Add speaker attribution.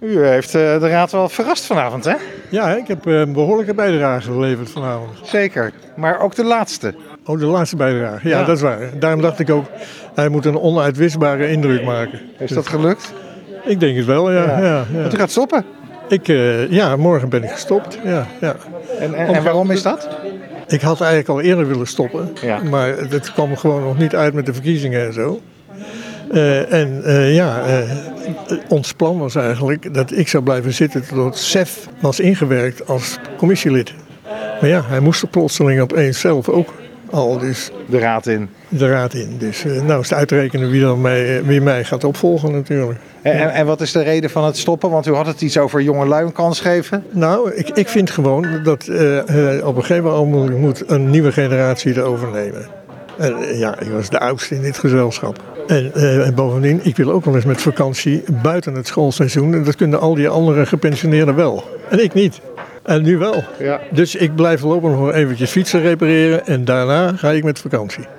Speaker 1: U heeft eh, de raad wel verrast vanavond, hè?
Speaker 2: Ja, ik heb eh, een behoorlijke bijdrage geleverd vanavond.
Speaker 1: Zeker. Maar ook de laatste.
Speaker 2: Oh, de laatste bijdrage. Ja,
Speaker 1: Ja.
Speaker 2: dat is waar. Daarom dacht ik ook, hij moet een onuitwisbare indruk maken. Dus
Speaker 1: Is dat gelukt?
Speaker 2: Ik denk het wel, ja.
Speaker 1: Ja.
Speaker 2: ja. ja,
Speaker 1: Want u gaat stoppen.
Speaker 2: Ik, eh, ja morgen ben ik gestopt. Ja, ja.
Speaker 1: En, en, en waarom is dat?
Speaker 2: Ik had eigenlijk al eerder willen stoppen,
Speaker 1: Ja.
Speaker 2: maar het kwam gewoon nog niet uit met de verkiezingen en zo. Eh, en eh, ja, eh, ons plan was eigenlijk dat ik zou blijven zitten totdat Sef was ingewerkt als commissielid. Maar ja, hij moest er plotseling opeens zelf ook al, dus
Speaker 1: De raad in.
Speaker 2: de raad in. Dus eh, nou is het uitrekenen wie, dan mij, eh, wie mij gaat opvolgen natuurlijk.
Speaker 1: En, en, en wat is de reden van het stoppen? Want u had het iets over jonge lui een kans geven.
Speaker 2: Nou, ik, ik vind gewoon dat eh, eh, op een gegeven moment moet een nieuwe generatie het overnemen. En eh, ja, ik was de oudste in dit gezelschap. En, eh, en bovendien, ik wil ook wel eens met vakantie buiten het schoolseizoen. En dat kunnen al die andere gepensioneerden wel. En ik niet. En nu wel.
Speaker 1: Ja.
Speaker 2: Dus ik blijf lopen nog eventjes fietsen repareren. En daarna ga ik met vakantie.